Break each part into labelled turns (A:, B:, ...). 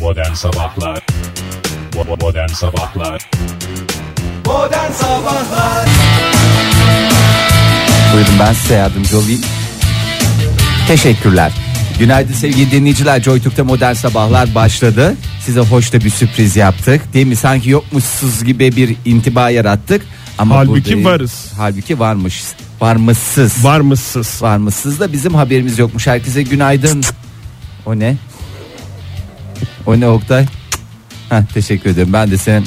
A: Modern Sabahlar Bo- Modern Sabahlar
B: Modern Sabahlar
C: Buyurun ben size yardımcı olayım. Teşekkürler. Günaydın sevgili dinleyiciler. JoyTürk'te modern sabahlar başladı. Size hoş da bir sürpriz yaptık. Değil mi? Sanki yokmuşsuz gibi bir intiba yarattık. Ama
D: Halbuki
C: buradayız.
D: varız.
C: Halbuki varmış. Varmışsız.
D: Var mısınız?
C: varmışsız da bizim haberimiz yokmuş. Herkese günaydın. O ne? O ne Oktay? Heh, teşekkür ederim. Ben de seni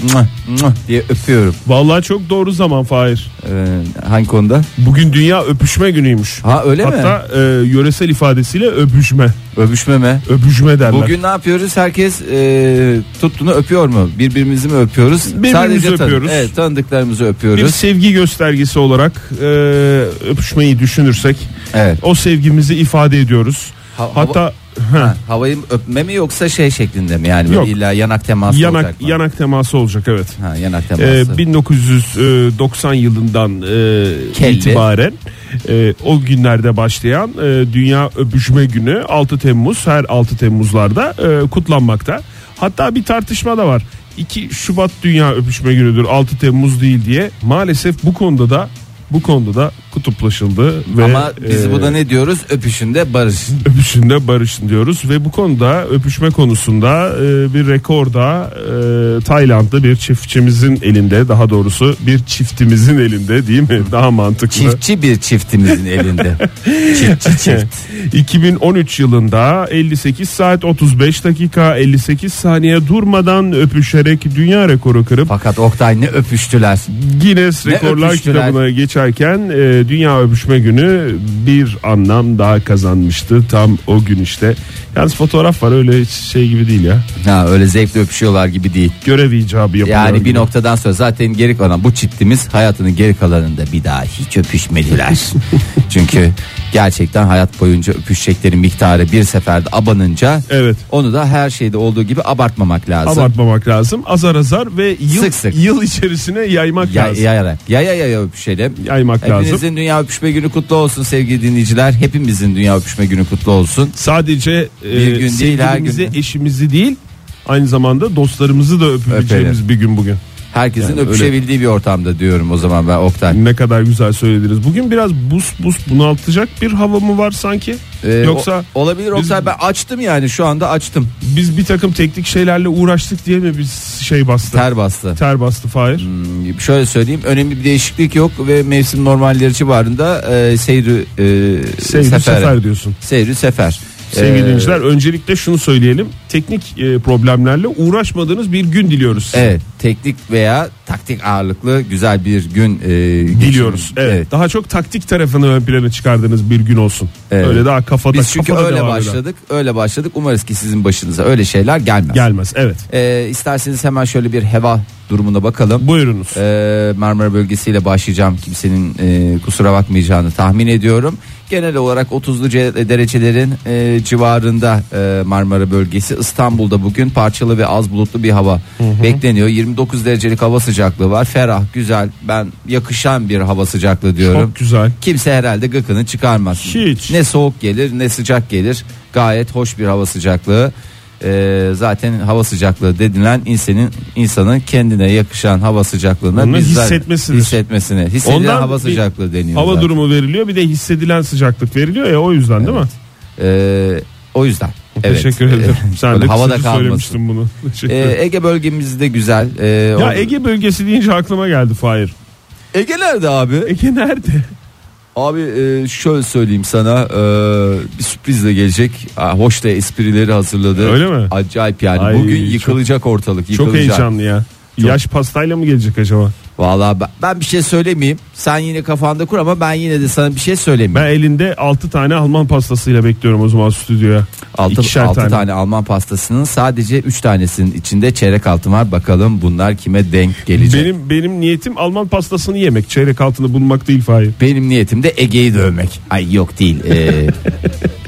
C: diye öpüyorum.
D: Vallahi çok doğru zaman Fahir.
C: Ee, hangi konuda?
D: Bugün dünya öpüşme günüymüş.
C: Ha öyle mi?
D: Hatta e, yöresel ifadesiyle öpüşme.
C: Öpüşme mi?
D: Öpüşme derler.
C: Bugün ne yapıyoruz? Herkes e, tuttuğunu öpüyor mu? Birbirimizi mi öpüyoruz?
D: Birbirimizi
C: tanı-
D: öpüyoruz.
C: evet, tanıdıklarımızı
D: bir
C: öpüyoruz.
D: sevgi göstergesi olarak e, öpüşmeyi düşünürsek
C: Evet.
D: o sevgimizi ifade ediyoruz.
C: Ha- hava-
D: Hatta ha,
C: Havayı öpme mi yoksa şey şeklinde mi? Yani
D: Yok.
C: böyle illa yanak teması
D: yanak
C: olacak mı?
D: yanak teması olacak evet.
C: Ha, yanak teması.
D: Ee, 1990 yılından e,
C: Kelli.
D: itibaren e, o günlerde başlayan e, Dünya Öpüşme Günü 6 Temmuz her 6 Temmuzlarda e, kutlanmakta. Hatta bir tartışma da var. 2 Şubat Dünya Öpüşme Günü'dür 6 Temmuz değil diye maalesef bu konuda da bu konuda da kutuplaşıldı ve
C: Ama biz
D: e,
C: burada ne diyoruz? Öpüşünde barış.
D: öpüşünde barışın diyoruz ve bu konuda öpüşme konusunda e, bir rekorda e, Tayland'da bir çiftçimizin elinde daha doğrusu bir çiftimizin elinde değil mi daha mantıklı
C: Çiftçi bir çiftimizin elinde. Çiftçi çift.
D: 2013 yılında 58 saat 35 dakika 58 saniye durmadan öpüşerek dünya rekoru kırıp
C: Fakat Oktay ne öpüştüler.
D: Guinness
C: Ne
D: Rekorlar
C: öpüştüler?
D: kitabına geçerken e, Dünya Öpüşme Günü bir anlam daha kazanmıştı tam o gün işte. Yalnız fotoğraf var öyle hiç şey gibi değil ya.
C: Ha, öyle zevkle öpüşüyorlar gibi değil.
D: görev icabı yapılıyor.
C: Yani bir
D: gibi.
C: noktadan sonra zaten geri kalan bu çiftimiz hayatının geri kalanında bir daha hiç öpüşmediler. Çünkü gerçekten hayat boyunca öpüşeceklerin miktarı bir seferde abanınca
D: Evet.
C: onu da her şeyde olduğu gibi abartmamak lazım.
D: abartmamak lazım. Azar azar ve yıl
C: Sık sık.
D: yıl içerisine yaymak
C: Ya,
D: lazım.
C: yayarak yaya yaya öpüşelim.
D: Yaymak
C: Hepinizin
D: lazım.
C: dünya öpüşme günü kutlu olsun sevgili dinleyiciler. Hepimizin dünya öpüşme günü kutlu olsun.
D: Sadece
C: Bir gün
D: e,
C: değil, her gün.
D: sevgilimizi, eşimizi değil aynı zamanda dostlarımızı da öpebileceğimiz bir gün bugün.
C: Herkesin
D: Yani öyle.
C: öpüşebildiği bir ortamda diyorum o zaman ben Oktay.
D: Ne kadar güzel söylediniz. Bugün biraz bus bus bunaltacak bir hava mı var sanki?
C: Ee,
D: Yoksa
C: o- olabilir Oktay
D: biz-
C: ben açtım yani şu anda açtım.
D: biz bir takım teknik şeylerle uğraştık diye mi biz şey bastı? Ter,
C: Ter bastı.
D: bastı Fahir.
C: Hmm, şöyle söyleyeyim önemli bir değişiklik yok ve mevsim normalleri civarında e, seyri, e,
D: Sevgili
C: sefer,
D: sefer diyorsun.
C: seyri sefer.
D: Sevgili
C: Ee,
D: dinleyiciler öncelikle şunu söyleyelim. Teknik e, problemlerle uğraşmadığınız bir gün diliyoruz.
C: Evet teknik veya taktik ağırlıklı güzel bir gün e,
D: Diliyoruz.
C: geçirdik.
D: Evet. Daha çok taktik tarafını ön plana çıkardığınız bir gün olsun.
C: Evet.
D: Öyle daha kafada
C: Biz çünkü
D: kafada
C: öyle
D: devam eden.
C: başladık öyle başladık umarız ki sizin başınıza öyle şeyler gelmez.
D: Gelmez. Evet.
C: E, isterseniz hemen şöyle bir heva durumuna bakalım.
D: Buyurunuz.
C: Ee, Marmara bölgesiyle başlayacağım kimsenin e, kusura bakmayacağını tahmin ediyorum. Genel olarak 30'lu ce- derecelerin e, civarında e, Marmara bölgesi. İstanbul'da bugün parçalı ve az bulutlu bir hava bekleniyor. 29 derecelik hava sıcaklığı var. Ferah, güzel, ben yakışan bir hava sıcaklığı diyorum.
D: Çok güzel.
C: Kimse herhalde gıkını çıkarmaz.
D: Hiç.
C: Ne soğuk gelir ne sıcak gelir. Gayet hoş bir hava sıcaklığı. Ee, zaten hava sıcaklığı dedilen insanın insanın kendine yakışan hava sıcaklığına
D: Onu
C: biz zaten-
D: hissetmesidir.
C: hissetmesine. Hissedilen
D: Ondan
C: hava
D: bir
C: sıcaklığı deniyor.
D: Hava
C: zaten.
D: durumu veriliyor bir de hissedilen sıcaklık veriliyor ya o yüzden değil mi?
C: Ee, o yüzden. Evet.
D: Teşekkür ederim.
C: Ee,
D: Sen
C: böyle
D: de
C: havada
D: havada
C: kalmasın.
D: söylemiştin bunu. Teşekkür
C: Ee,
D: ederim.
C: Ege bölgemizde güzel. Ee,
D: ya
C: orada-
D: Ege bölgesi deyince aklıma geldi Fahir.
C: Ege nerede abi?
D: Ege nerede?
C: Abi e, şöyle söyleyeyim sana e, bir sürprizle gelecek. Aa, hoş da esprileri hazırladı.
D: Öyle mi?
C: Acayip yani.
D: Ay,
C: Bugün
D: çok-
C: yıkılacak ortalık. Yıkılacak.
D: Çok heyecanlı ya.
C: Çok.
D: Yaş pastayla mı gelecek acaba?
C: Valla ben, ben bir şey söylemeyeyim. Sen yine kafanda kur ama ben yine de sana bir şey söylemeyeyim.
D: Ben elinde 6 tane Alman pastasıyla bekliyorum o zaman stüdyoya.
C: altı,
D: İkişer
C: altı tane.
D: tane.
C: Alman pastasının sadece 3 tanesinin içinde çeyrek altın var. Bakalım bunlar kime denk gelecek. Benim,
D: Benim benim niyetim Alman pastasını yemek. Çeyrek altını bulmak değil Fahir.
C: niyetim de Ege'yi dövmek. Ay yok değil. Ee,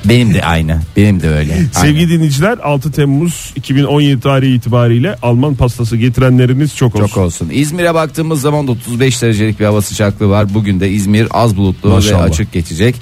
C: benim de aynı. Benim de öyle. Aynı.
D: Sevgili dinleyiciler 6 Temmuz 2017 tarihi itibariyle Alman pastası getirenleriniz çok olsun.
C: Çok olsun. İzmir'e baktığımız zaman da 35 derecelik bir hava sıcaklığı var. Bugün de İzmir az bulutlu ve
D: Maşallah.
C: açık geçecek.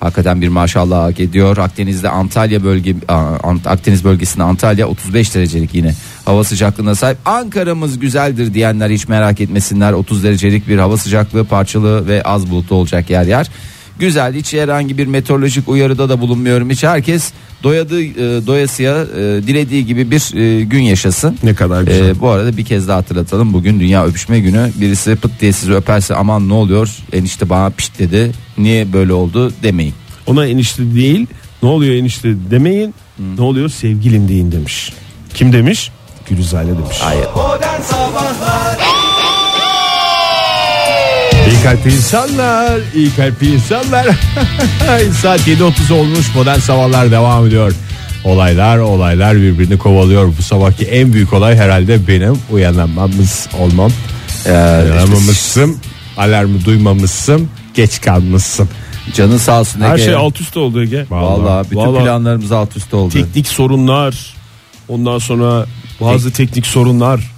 C: Hakikaten bir maşallah hak ediyor. Akdeniz'de Antalya bölge a- Ant- Akdeniz bölgesinde Antalya 35 derecelik yine hava sıcaklığına sahip. Ankara'mız güzeldir diyenler hiç merak etmesinler. 30 derecelik bir hava sıcaklığı parçalı ve az bulutlu olacak yer yer. Güzel hiç herhangi bir meteorolojik uyarıda da bulunmuyorum. Hiç herkes doyadığı e, doyasıya e, dilediği gibi bir e, gün yaşasın.
D: Ne kadar güzel.
C: Ee, bu arada bir kez daha hatırlatalım. Bugün Dünya Öpüşme Günü. Birisi pıt diye sizi öperse aman ne oluyor? Enişte bana pişt dedi. Niye böyle oldu demeyin.
D: Ona enişte değil ne oluyor enişte demeyin ne oluyor sevgilim deyin demiş. Kim demiş? Gülizade demiş.
B: Modern Sabahlar
E: İyi kalp insanlar, iyi kalp insanlar. Saat 7.30 olmuş modern sabahlar devam ediyor. Olaylar olaylar birbirini kovalıyor. Bu sabahki en büyük olay herhalde benim uyanamamız olmam.
C: Ee,
E: Uyanamamışsın, alarmı duymamışsın, geç kalmışsın.
C: Canın sağ olsun
D: Her
C: Ege.
D: şey alt üst oldu Ege.
C: Vallahi bütün
D: Vallahi.
C: planlarımız alt üst oldu.
D: Teknik sorunlar ondan sonra bazı teknik sorunlar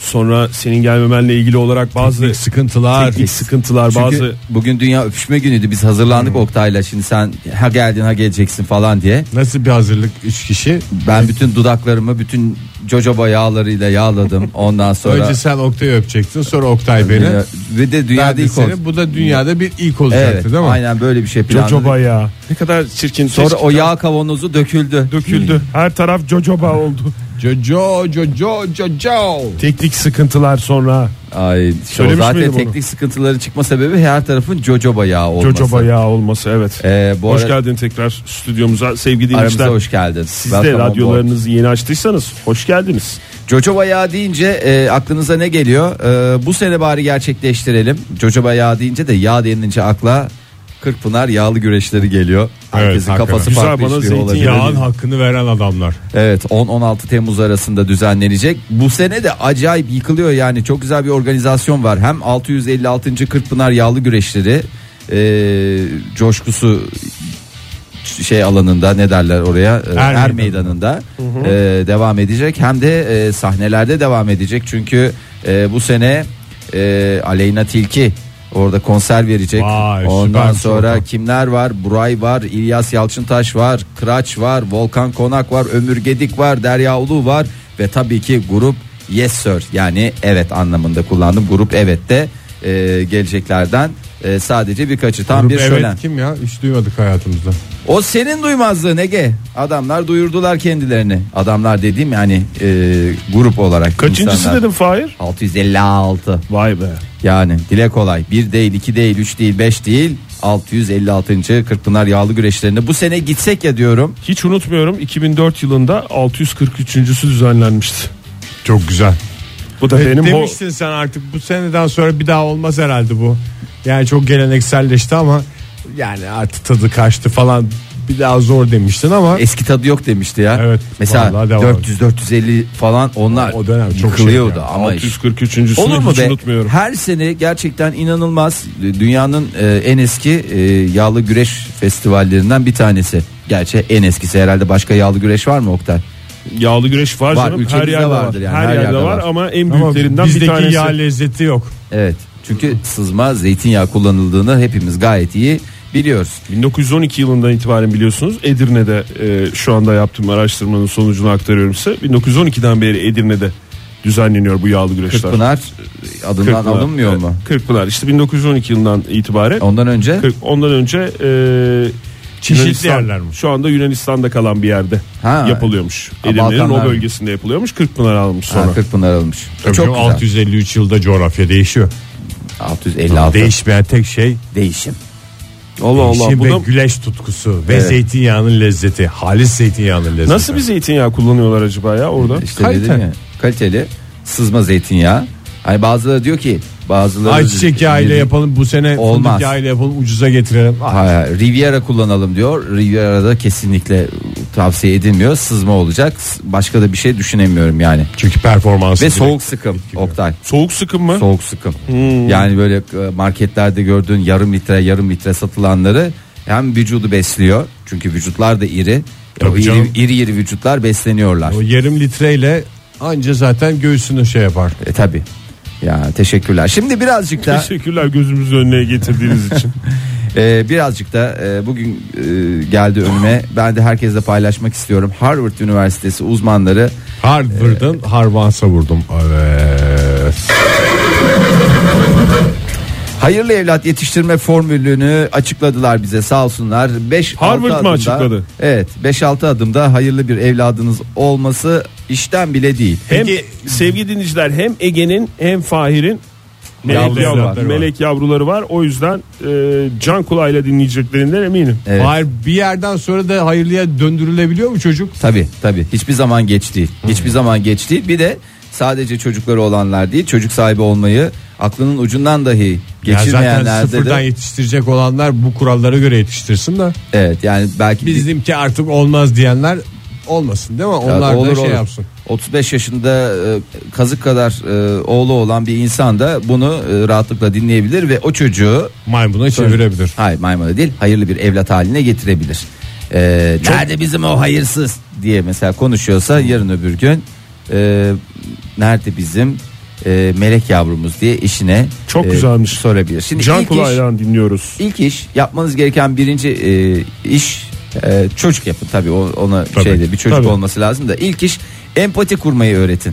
D: sonra senin gelmemenle ilgili olarak bazı
E: Teknik
D: teknik,
E: sıkıntılar.
D: sıkıntılar
C: Çünkü
D: bazı
C: bugün Dünya Öpüşme Günü'ydü. Biz hazırlandık Oktay'la. Şimdi sen ha geldin ha geleceksin falan diye.
E: Nasıl bir hazırlık 3 kişi?
C: Ben bütün dudaklarımı bütün jojoba yağlarıyla yağladım. Ondan sonra
E: Önce sen Oktay'ı öpecektin sonra Oktay beni.
C: Dünya- ve de
E: Ben
C: dünyada
E: de
C: ilk
E: seni.
C: oldu.
E: Bu da dünyada bir ilk olacaktı
C: Evet,
E: değil mi?
C: aynen böyle bir şey planladık.
D: Jojoba ya. Ne kadar çirkin.
C: Sonra
D: Keşke-
C: o Hmm. yağ kavanozu döküldü.
D: döküldü. Her taraf Jojoba oldu.
E: Jojo, Jojo, Jojo.
D: teknik sıkıntılar sonra
C: Ay,
D: Söylemiş
C: o zaten
D: miydim onu?
C: teknik sıkıntıları çıkma sebebi her tarafın jojoba yağı olması.
D: Jojoba ya olması evet.
C: Ee, bu
D: hoş
C: ara-
D: geldin tekrar stüdyomuza sevgili
C: Aramıza
D: dinleyiciler.
C: hoş geldin.
D: Siz de
C: Welcome on board.
D: radyolarınızı yeni açtıysanız hoş geldiniz.
C: Jojoba yağı deyince e, aklınıza ne geliyor? E, bu sene bari gerçekleştirelim. Jojoba yağı deyince de yağ denilince akla Kırkpınar yağlı güreşleri geliyor. Herkesin
E: hakikaten.
C: kafası
D: Güzel,
C: farklı
D: bana
C: işliyor
D: zeytinyağı
C: olabilir.
E: Yağın hakkını veren adamlar.
C: Evet 10-16 Temmuz arasında düzenlenecek. Bu sene de acayip yıkılıyor yani çok güzel bir organizasyon var. Hem 656. Kırkpınar Yağlı Güreşleri eee, coşkusu şey alanında ne derler oraya Eee,
E: Er
C: er, meydanında eee, devam edecek hem de eee, sahnelerde devam edecek çünkü eee, bu sene eee, Aleyna Tilki orada konser verecek
E: Vay,
C: ondan
E: süpermiş
C: sonra
E: ortam.
C: kimler var? Buray var, İlyas Yalçıntaş var, Kıraç var, Volkan Konak var, Ömür Gedik var, Derya Ulu var ve tabii ki grup Yes Sir yani evet anlamında kullandım. Grup evet de e, geleceklerden e, sadece birkaçı tam
E: Grup
C: bir
E: evet
C: şölen.
E: kim ya? Hiç duymadık hayatımızda.
C: O senin duymazlığın Ege. Adamlar duyurdular kendilerini. Adamlar dediğim yani e, grup olarak.
D: Kaçıncısı
C: insanlar.
D: dedim Fahir?
C: 656.
D: Vay be.
C: Yani dile kolay. Bir değil, iki değil, üç değil, beş değil. 656. Kırkpınar yağlı güreşlerinde bu sene gitsek ya diyorum.
D: Hiç unutmuyorum 2004 yılında 643.sü düzenlenmişti.
E: Çok güzel.
D: Bu da benim o
E: Demiştin sen artık bu seneden sonra bir daha olmaz herhalde bu. Yani çok gelenekselleşti ama yani artık tadı kaçtı falan bir daha zor demiştin ama
C: Eski tadı yok demişti ya.
E: Evet,
C: Mesela
E: vallahi devam.
C: 400 450 falan onlar
E: O dönem çok
C: yıkılıyordu
E: şey yani.
C: ama işte-
D: 643.sünü
C: Olur mu
D: hiç
C: be?
D: unutmuyorum.
C: Her sene gerçekten inanılmaz dünyanın e, en eski e, yağlı güreş festivallerinden bir tanesi. Gerçi en eskisi herhalde başka yağlı güreş var mı Oktay?
D: Yağlı güreş var,
C: Var,
D: canım. Her
C: ülkemizde
D: yerde var.
C: vardır yani,
D: Her, yerde, var. ama en büyüklerinden bir
E: bizdeki
D: tanesi.
E: yağ lezzeti yok.
C: Evet. Çünkü sızma zeytinyağı kullanıldığını hepimiz gayet iyi biliyoruz.
D: 1912 yılından itibaren biliyorsunuz Edirne'de e, şu anda yaptığım araştırmanın sonucunu aktarıyorum size. 1912'den beri Edirne'de düzenleniyor bu yağlı güreşler.
C: Kırkpınar adından
D: Kırkpınar.
C: alınmıyor
D: Evet,
C: mu?
D: Kırkpınar işte 1912 yılından itibaren.
C: Ondan önce
D: Kırk- Ondan önce e,
E: Çeşitli
D: Yunanistan-
E: yerler mi?
D: Şu anda Yunanistan'da kalan bir yerde
C: Ha.
D: yapılıyormuş.
C: Ha,
D: Edirne'nin
C: Balkanlar.
D: o bölgesinde yapılıyormuş. Kırkpınar almış sonra.
C: ha, Kırkpınar alınmış.
E: Tabii
C: E, Çok
E: canım,
C: güzel.
E: 653 yılda coğrafya değişiyor.
C: 656
E: Değişmeyen tek şey
C: değişim.
D: Allah Allah.
E: değişim
D: Bu
E: ve
D: da
E: güleş tutkusu ve
C: Evet.
E: zeytinyağının lezzeti. Halis zeytinyağının lezzeti.
D: nasıl bir zeytinyağı kullanıyorlar acaba ya orada?
C: İşte
E: Kalite.
C: dedim ya kaliteli sızma zeytinyağı. Hani bazıları diyor ki bazıları
E: Ayçiçek yağıyla yapalım bu sene
C: Olmaz.
E: fındık yağıyla yapalım ucuza getirelim. Ah,
C: Ha, ha, Riviera kullanalım diyor. Riviera'da kesinlikle tavsiye edilmiyor. Sızma olacak. S- Başka da bir şey düşünemiyorum yani.
E: Çünkü performansı
C: Ve
E: direkt-
C: soğuk sıkım Oktay.
D: Soğuk sıkım mı?
C: Soğuk sıkım. Yani böyle e, marketlerde gördüğün yarım litre yarım litre satılanları hem vücudu besliyor. Çünkü vücutlar da iri.
E: Tabii
C: O iri,
E: canım.
C: iri iri vücutlar besleniyorlar.
E: O yarım litreyle anca zaten göğsünü şey yapar.
C: E, tabii. Ya teşekkürler. Şimdi birazcık da
D: Teşekkürler gözümüzün önüne getirdiğiniz için.
C: Ee, birazcık da e, bugün e, geldi önüme. Ben de herkesle paylaşmak istiyorum. Harvard Üniversitesi uzmanları
E: Harvard'ın Harvans'a vurdum. Evet.
C: hayırlı evlat yetiştirme formülünü açıkladılar bize sağ olsunlar. 5
D: Harvard mı açıkladı?
C: Evet, 5-6 adımda hayırlı bir evladınız olması işten bile değil.
D: Hem sevgili dinleyiciler hem Ege'nin hem Fahir'in melek,
C: Yavruları
D: yavru-
E: var.
D: melek yavruları var. O yüzden e, can kulağıyla dinleyeceklerinden eminim.
C: Evet.
E: Hayır bir yerden sonra da hayırlıya döndürülebiliyor mu çocuk?
C: Tabi tabi hiçbir zaman geç değil. Hiçbir zaman geç değil. Bir de sadece çocukları olanlar değil, çocuk sahibi olmayı aklının ucundan dahi
E: Ya zaten
C: geçirmeyenler
E: sıfırdan
C: de.
E: yetiştirecek olanlar bu kurallara göre yetiştirsin de.
C: Evet yani belki bir-
E: Bizimki artık olmaz diyenler olmasın değil mi? Onlar
C: olur,
E: da şey
C: olur.
E: yapsın.
C: 35 yaşında e, kazık kadar e, oğlu olan bir insan da bunu e, rahatlıkla dinleyebilir ve o çocuğu
E: Maymuna çevirebilir.
C: hayır maymuna değil hayırlı bir evlat haline getirebilir. E, Nerede bizim o hayırsız diye mesela konuşuyorsa
D: Hmm.
C: yarın öbür gün e, nerede bizim e, melek yavrumuz diye eşine
D: Çok
C: e,
D: güzelmiş.
C: sorabilir. Şimdi
D: Can
C: ilk iş,
D: kulağıyla dinliyoruz.
C: ilk iş yapmanız gereken birinci e, iş e, çocuk yapın tabii o- ona
E: Tabii.
C: şeyde bir çocuk
D: Tabii.
C: olması lazım da ilk iş empati kurmayı öğretin.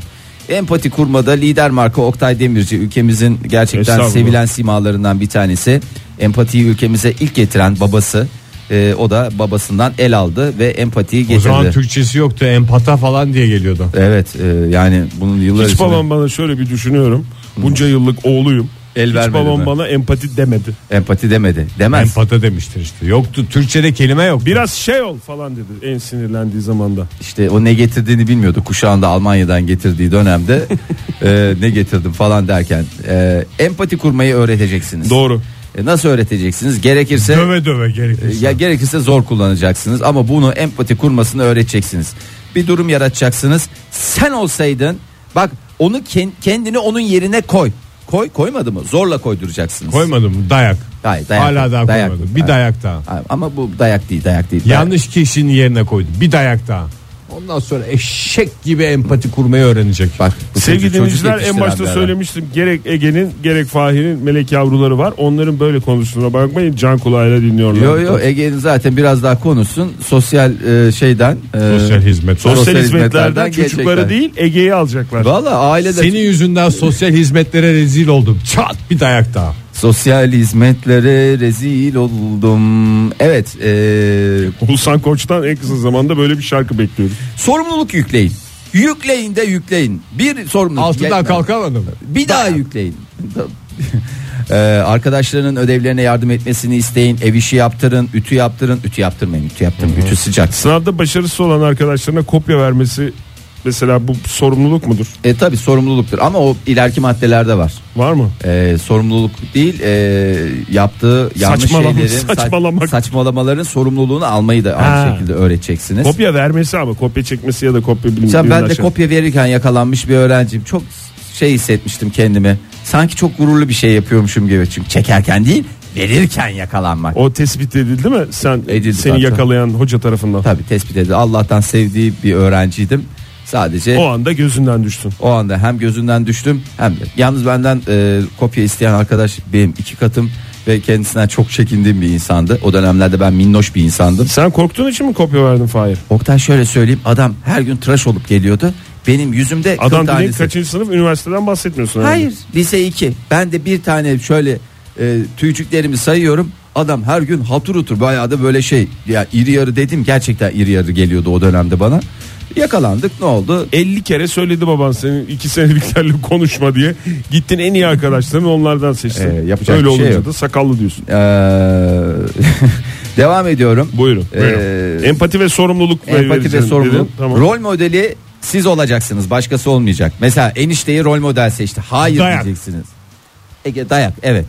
C: Empati kurmada lider marka Oktay Demirci ülkemizin gerçekten
D: Estağfurullah.
C: sevilen simalarından bir tanesi. Empatiyi ülkemize ilk getiren babası. E, o da babasından el aldı ve empatiyi
E: O
C: getirdi.
E: zaman Türkçesi yoktu. Empata falan diye geliyordu.
C: Evet e, yani bunun yıllar
D: Hiç
C: içinde
D: babam bana şöyle bir düşünüyorum. Bunca yıllık oğluyum.
C: El
D: Hiç
C: vermedi
D: babam
C: mi?
D: bana empati demedi.
C: empati demedi. Demez.
E: Empata demiştir işte. Yoktu. Türkçede kelime yok.
D: Biraz şey ol falan dedi en sinirlendiği zamanda.
C: İşte o ne getirdiğini bilmiyordu. Kuşağında Almanya'dan getirdiği dönemde e, ne getirdim falan derken e, empati kurmayı öğreteceksiniz.
D: Doğru.
C: E, nasıl öğreteceksiniz? Gerekirse
E: Döve döve gerekir.
C: e, ya gerekirse zor kullanacaksınız ama bunu empati kurmasını öğreteceksiniz. Bir durum yaratacaksınız. Sen olsaydın bak onu ken- kendini onun yerine koy. Koy koymadı mı? Zorla koyduracaksınız.
E: Koymadım dayak.
C: Hayır, dayak
E: Hala
C: yok,
E: daha
C: dayak
E: koymadım.
C: yok.
E: Bir
C: Ha.
E: dayak daha.
C: Hayır, Ama bu dayak değil, dayak değil.
E: Yanlış kişinin yerine koydu. Bir dayak daha. Ondan sonra eşek gibi empati kurmayı öğrenecek.
C: Bak, bu
D: Sevgili
C: çocuk- çocuk
D: dinleyiciler en
C: yetiştiren
D: başta
C: bir adam.
D: söylemiştim. Gerek Ege'nin gerek Fahir'in melek yavruları var. Onların böyle konuştuğuna bakmayın. Can kulağıyla dinliyorlar.
C: Yo yo Ege'nin zaten biraz daha konuşsun sosyal e, şeyden e,
E: Sosyal hizmet.
D: Sosyal,
C: sosyal
D: hizmetlerden
C: hizmetlerden
D: çocukları
C: gelecekler.
D: değil Ege'yi alacaklar.
C: Valla ailede
E: Senin yüzünden sosyal hizmetlere rezil oldum. Çat bir dayak daha.
C: sosyal hizmetlere rezil oldum. Evet e,
D: Bulsan Koç'tan en kısa zamanda böyle bir şarkı bekliyoruz.
C: sorumluluk yükleyin. Yükleyin de yükleyin. Bir sorumluluk.
E: Altından
C: yetmez.
E: kalkamadım.
C: Bir daha yükleyin. Ee, arkadaşlarının ödevlerine yardım etmesini isteyin. Ev işi yaptırın, ütü yaptırın, ütü yaptırmayın, ütü yaptırın. Ütü sıcak.
D: Sınavda başarısız olan arkadaşlarına kopya vermesi mesela bu sorumluluk mudur?
C: E tabi sorumluluktur ama o ileriki maddelerde var.
D: Var mı?
C: e, sorumluluk değil e, yaptığı yanlış
D: Saçmalama-
C: şeylerin sa-
D: saçmalamak.
C: saçmalamaların sorumluluğunu almayı da aynı
D: Ha.
C: şekilde öğreteceksiniz.
D: Kopya vermesi ama kopya çekmesi ya da kopya bilmiyorum.
C: Sen ben de kopya verirken yakalanmış bir öğrenciyim. Çok şey hissetmiştim kendimi. Sanki çok gururlu bir şey yapıyormuşum gibi. Çünkü çekerken değil, verirken yakalanmak.
D: O tespit edildi mi? Sen
C: Edildi
D: seni
C: zaten.
D: yakalayan hoca tarafından.
C: Tabii tespit edildi. Allah'tan sevdiği bir öğrenciydim. Sadece
D: O anda gözünden düştün.
C: O anda hem gözünden düştüm hem de yalnız benden e, kopya isteyen arkadaş benim iki katım ve kendisinden çok çekindiğim bir insandı. O dönemlerde ben minnoş bir insandım.
D: Sen korktuğun için mi kopya verdin Fahir?
C: Oktay şöyle söyleyeyim adam her gün tıraş olup geliyordu. Benim yüzümde kıl
D: Adam dediğin
C: tanesi.
D: kaçıncı sınıf üniversiteden bahsetmiyorsun. herhalde.
C: Hayır lise 2. Ben de bir tane şöyle e, tüycüklerimi sayıyorum. Adam her gün hatır otur bayağı da böyle şey ya iri yarı dedim gerçekten iri yarı geliyordu o dönemde bana. Yakalandık ne oldu?
D: 50 kere söyledi baban senin iki seneliklerle konuşma diye. Gittin en iyi arkadaşlarını onlardan seçtin.
C: Ee, yapacak
D: Öyle
C: bir şey
D: olunca
C: yok.
D: da sakallı diyorsun.
C: Ee, devam ediyorum.
D: Buyurun. buyurun.
C: Ee,
D: empati ve sorumluluk
C: Empati ve
D: vereceğim
C: sorumluluk.
D: dedin. Tamam.
C: Rol modeli siz olacaksınız, başkası olmayacak. Mesela enişteyi rol model seçti. Hayır
E: Dayak.
C: diyeceksiniz. Ege dayak, evet.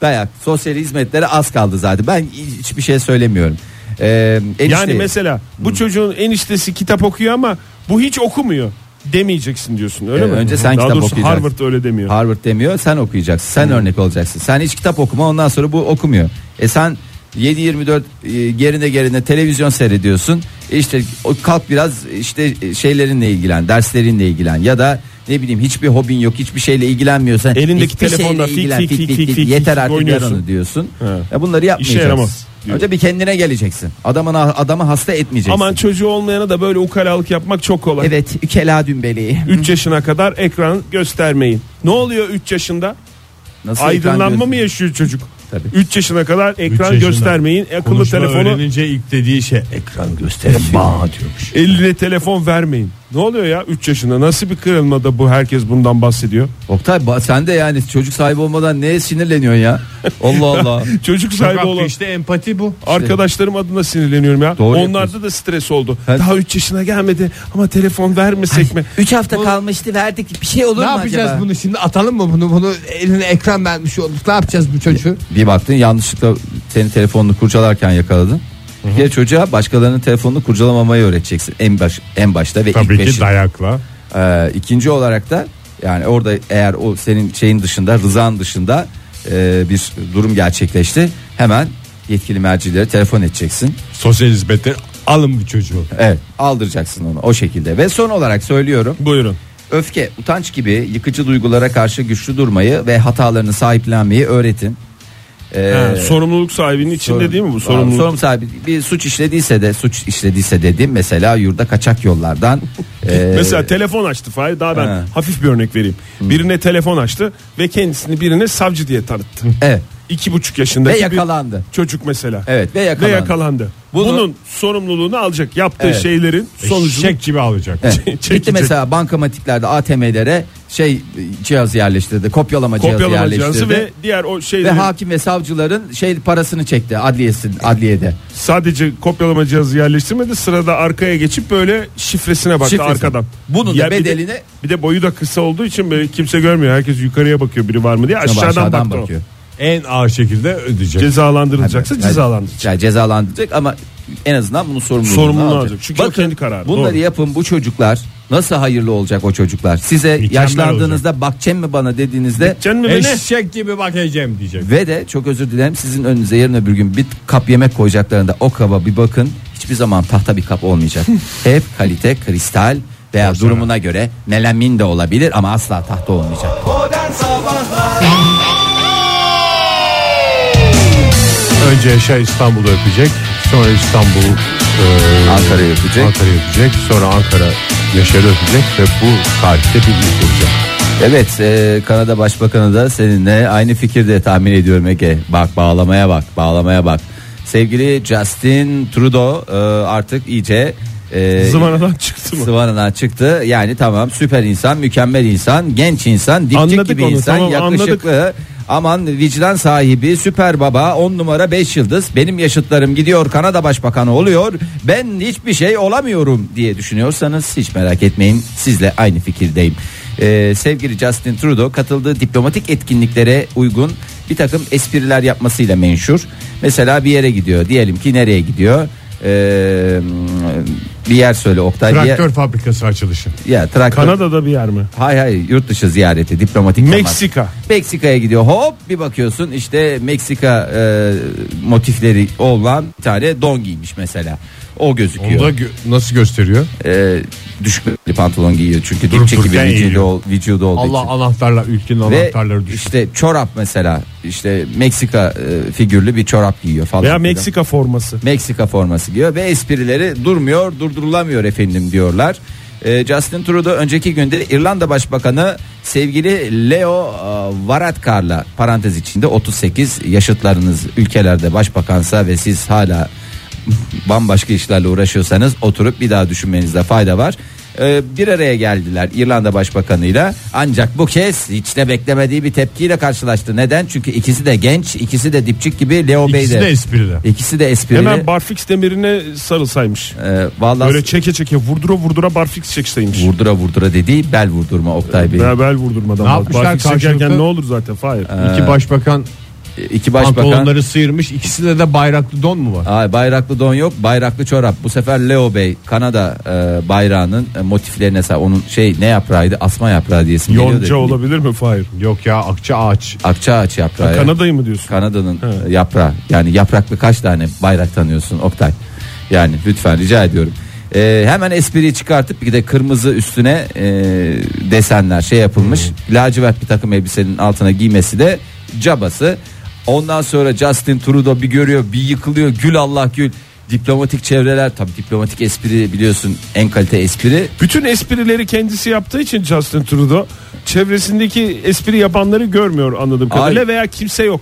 C: Dayak. Sosyal hizmetlere az kaldı zaten. Ben hiçbir şey söylemiyorum. Ee, enişteyi-
D: Yani mesela bu
C: Hmm.
D: çocuğun eniştesi kitap okuyor ama bu hiç okumuyor demeyeceksin diyorsun öyle
C: Ee,
D: mi?
C: önce sen
D: Daha
C: kitap
D: doğrusu
C: okuyacaksın.
D: Harvard öyle demiyor. Hmm.
C: Harvard demiyor sen okuyacaksın sen örnek olacaksın sen hiç kitap okuma ondan sonra bu okumuyor e sen 7-24 e, gerine gerine televizyon seyrediyorsun E işte o- kalk biraz işte e, şeylerinle ilgilen derslerinle ilgilen ya da ne bileyim hiçbir hobin yok hiçbir şeyle ilgilenmiyorsan
D: Elindeki
C: hiçbir şeyle
D: telefonla tik
C: ilgilen,
D: tik tik tik tik
C: yeter
D: tik
C: artık
D: oynuyorsun.
C: yarını diyorsun.
D: He.
C: Ya bunları yapmayacaksın.
D: yaramaz diyor.
C: Önce bir kendine geleceksin. Adamın adamı hasta etmeyeceksin.
D: Aman çocuğu olmayana da böyle ukalalık yapmak çok kolay.
C: Evet, ükela dümbeleği.
D: 3 yaşına kadar ekran göstermeyin. Ne oluyor 3 yaşında?
C: Nasıl
D: Aydınlanma
C: ekran
D: mı
C: göz-
D: yaşıyor çocuk?
C: Tabii.
D: 3 yaşına kadar ekran
E: yaşında.
D: göstermeyin. e, Akıllı
E: Konuşma
D: telefonu
E: öğrenince ilk dediği şey ekran gösterin bana diyormuş.
D: eline telefon vermeyin. Ne oluyor ya 3 yaşında? Nasıl bir kırılmada bu herkes bundan bahsediyor?
C: Oktay ba- sen de yani çocuk sahibi olmadan neye sinirleniyorsun ya? Allah Allah.
D: Çocuk
E: Çok
D: sahibi
E: haklı
D: olan
E: işte empati bu.
D: arkadaşlarım adına sinirleniyorum ya.
C: Doğru
D: Onlarda da stres oldu.
C: Her-
D: Daha 3 yaşına gelmedi ama telefon vermesek mi?
C: 3 hafta kalmıştı verdik bir şey olur
F: Ne yapacağız bunu şimdi atalım mı bunu bunu eline ekran vermiş olduk ne yapacağız bu çocuğu?
C: Bir baktın yanlışlıkla senin telefonunu kurcalarken yakaladın. Ya çocuğa başkalarının telefonunu kurcalamamayı öğreteceksin en baş en başta ve ilk
E: Tabii ki
C: peşin.
E: dayakla.
C: Ee, ikinci olarak da yani orada eğer o senin şeyin dışında rızan dışında e, bir durum gerçekleşti hemen yetkili mercilere telefon edeceksin.
E: Sosyal hizmetler alın bu çocuğu.
C: Evet aldıracaksın onu o şekilde ve son olarak söylüyorum
D: Buyurun.
C: Öfke, utanç gibi yıkıcı duygulara karşı güçlü durmayı ve hatalarını sahiplenmeyi öğretin. Ee,
D: Ha, sorumluluk sahibinin içinde
C: sorun-
D: değil mi bu sorumluluk?
C: Sorumlu sahibi bir suç işlediyse de suç işlediyse dedim mesela yurda kaçak yollardan. e,
D: Mesela telefon Ee, açtı Fahir daha ben
C: He.
D: hafif bir örnek vereyim. Birine telefon açtı ve kendisini birine savcı diye tanıttı.
C: evet,
D: İki buçuk
C: ve
D: yaşındaki bir
C: yakalandı.
D: çocuk mesela.
C: Evet ve
D: Ve
C: yakalandı.
D: yakalandı.
C: Bunu-
D: Bunun sorumluluğunu alacak. Yaptığı
C: Evet.
D: şeylerin sonucunu
E: Eşek gibi alacak.
C: Evet. Gitti
D: çekecek.
C: mesela bankamatiklerde ATM'lere şey e, cihaz yerleştirdi. Kopyalama, cihazı
D: kopyalama
C: yerleştirdi.
D: cihazı ve diğer o şey
C: ve
D: şeylerin
C: hakim ve savcıların şey parasını çekti adliyesin adliyede.
D: sadece kopyalama cihazı yerleştirmedi. Sırada arkaya geçip böyle şifresine baktı
C: Şifresi.
D: arkadan.
C: Bunun da
D: bir de-
C: bedelini-
D: bir de, boyu da kısa olduğu için böyle kimse görmüyor. Herkes yukarıya bakıyor biri var mı diye. Aşağıdan,
C: Aşağıdan
D: baktı o.
C: bakıyor.
E: En ağır şekilde ödeyecek.
D: Cezalandırılacaksa
C: Yani-
D: cezalandırılacak.
C: Yani cezalandıracak ama en azından bunun sorumluluğunu
D: Sorumluluğunu
C: alacak.
D: alacak. Çünkü o kendi kararı.
C: Bunları
D: Doğru.
C: yapın bu çocuklar. Nasıl hayırlı olacak o çocuklar? Size yaşlandığınızda bakçem mi bana dediğinizde
D: Can mı beni?
E: Eşek gibi bakacağım diyecek.
C: ve de çok özür dilerim sizin önünüze yarın öbür gün bir kap yemek koyacaklarında o kaba bir bakın. Hiçbir zaman tahta bir kap olmayacak. Hep kalite, kristal veya durumuna göre melamin de olabilir ama asla tahta olmayacak.
B: Modern Sabahlar
E: Önce Yaşar İstanbul'u öpecek. Sonra İstanbul e,
C: Ankara'yı öpecek.
E: Ankara'yı öpecek. Sonra Ankara Yaşar'ı öpecek ve bu tarihte bir ilk olacak.
C: Evet e, Kanada Başbakanı da seninle aynı fikirde tahmin ediyorum Ege. Bak bağlamaya bak bağlamaya bak. Sevgili Justin Trudeau e, artık iyice e,
D: Zıvanadan çıktı mı?
C: sıvanadan çıktı. Yani tamam süper insan, mükemmel insan, genç insan, dipçik
D: Anladık
C: gibi
D: onu,
C: insan,
D: tamam,
C: yakışıklı. Aman vicdan sahibi, süper baba, 10 numara 5 yıldız. Benim yaşıtlarım gidiyor Kanada Başbakanı oluyor. Ben hiçbir şey olamıyorum diye düşünüyorsanız hiç merak etmeyin. Sizle aynı fikirdeyim. Ee, sevgili Justin Trudeau katıldığı diplomatik etkinliklere uygun bir takım espriler yapmasıyla menşur. Mesela bir yere gidiyor. Diyelim ki nereye gidiyor? Ee, bir yer söyle Oktay. Bir yer-
E: Traktör fabrikası açılışı.
C: ya traktör.
D: Kanada'da bir yer mi?
C: Hay hay yurt dışı ziyareti diplomatik. temas.
D: Meksika.
C: Meksika'ya gidiyor hop bir bakıyorsun işte Meksika e, motifleri olan bir tane don giymiş mesela. O
E: Onu
C: gözüküyor.
E: da gö- nasıl gösteriyor?
C: E, düşük bir pantolon giyiyor çünkü
E: Durup
C: dipçik gibi
E: dururken
C: vücudu,
E: eğiliyor.
C: ol- vücudu olduğu
E: Allah
C: için.
E: anahtarlar ülkenin
C: Ve
E: anahtarları düşün.
C: işte çorap mesela işte Meksika e, figürlü bir çorap giyiyor falan.
D: Veya
C: filan.
D: Meksika forması.
C: Meksika forması giyiyor ve esprileri durmuyor durdurulamıyor efendim diyorlar. Ee, Justin Trudeau önceki günde İrlanda Başbakanı sevgili Leo e, Varadkar'la parantez içinde 38 yaşıtlarınız ülkelerde başbakansa ve siz hala bambaşka işlerle uğraşıyorsanız oturup bir daha düşünmenizde fayda var. Ee, bir araya geldiler İrlanda Başbakanı'yla ancak bu kez hiç de beklemediği bir tepkiyle karşılaştı. Neden? Çünkü ikisi de genç, ikisi de dipçik gibi Leo Bey
E: İkisi de esprili.
C: İkisi de esprili.
D: Hemen barfix demirine sarılsaymış.
C: Ee, vallahi
D: Böyle çeke çeke vurdura vurdura barfix çekseymiş.
C: vurdura vurdura dediği bel vurdurma Oktay Bey.
D: Beraber vurdurmadan.
E: Ne
D: var.
E: yapmışlar
D: barfix
E: karşılıklı?
D: çekerken ne olur zaten Fahir.
C: E,
E: İki başbakan
C: İki başbakan.
E: pantolonları sıyırmış. İkisinde de bayraklı don mu var?
C: Ay, bayraklı don yok, bayraklı çorap. Bu sefer Leo Bey Kanada e, bayrağının e, motiflerine sahip. Onun şey ne yaprağıydı? Asma yaprağı diye isim geliyor
D: Yonca
C: da-
D: olabilir mi Fahir?
E: Yok ya akça ağaç.
C: Akçaağaç yaprağı.
D: Kanada'yı mı diyorsun?
C: Kanada'nın e, yaprağı. Yani yapraklı kaç tane bayrak tanıyorsun Oktay? Yani lütfen rica ediyorum. Ee, hemen espriyi çıkartıp bir de kırmızı üstüne e, desenler şey yapılmış. Lacivert bir takım elbisenin altına giymesi de cabası. Ondan sonra Justin Trudeau bir görüyor bir yıkılıyor gül Allah gül. Diplomatik çevreler tabi diplomatik espri biliyorsun en kalite espri.
D: Bütün esprileri kendisi yaptığı için Justin Trudeau çevresindeki espri yapanları görmüyor anladığım kadarıyla
C: Ay.
D: veya kimse yok.